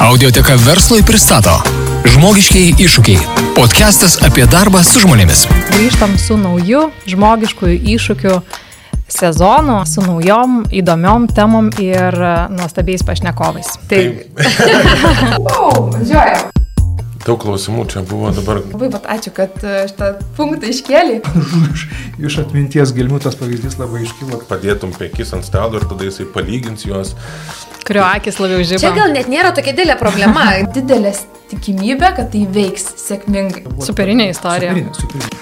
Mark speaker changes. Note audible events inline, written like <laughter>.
Speaker 1: Audioteka verslui pristato Žmogiškiai iššūkiai. Podcastas apie darbą su žmonėmis.
Speaker 2: Grįžtam su nauju žmogiškųjų iššūkių sezonu, su naujom įdomiom temom ir e, nuostabiais pašnekovais. Tai
Speaker 3: Taip.
Speaker 4: Wow, važiuoju.
Speaker 3: Tai Daug klausimų čia buvo dabar.
Speaker 4: Labai pat ačiū, kad e, šitą punktą iškėlė.
Speaker 5: iš, iš atminties gelmių tas pavyzdys labai iškilo.
Speaker 3: Padėtum penkis ant stalo ir tada jisai palygins juos.
Speaker 2: Kurio akis labiau
Speaker 6: Čia
Speaker 2: žiba.
Speaker 6: gal net nėra tokia didelė
Speaker 4: <laughs>
Speaker 6: problema.
Speaker 4: Didelė tikimybė, kad tai veiks sėkmingai.
Speaker 2: Superinė istorija.
Speaker 5: Superinė, superinė.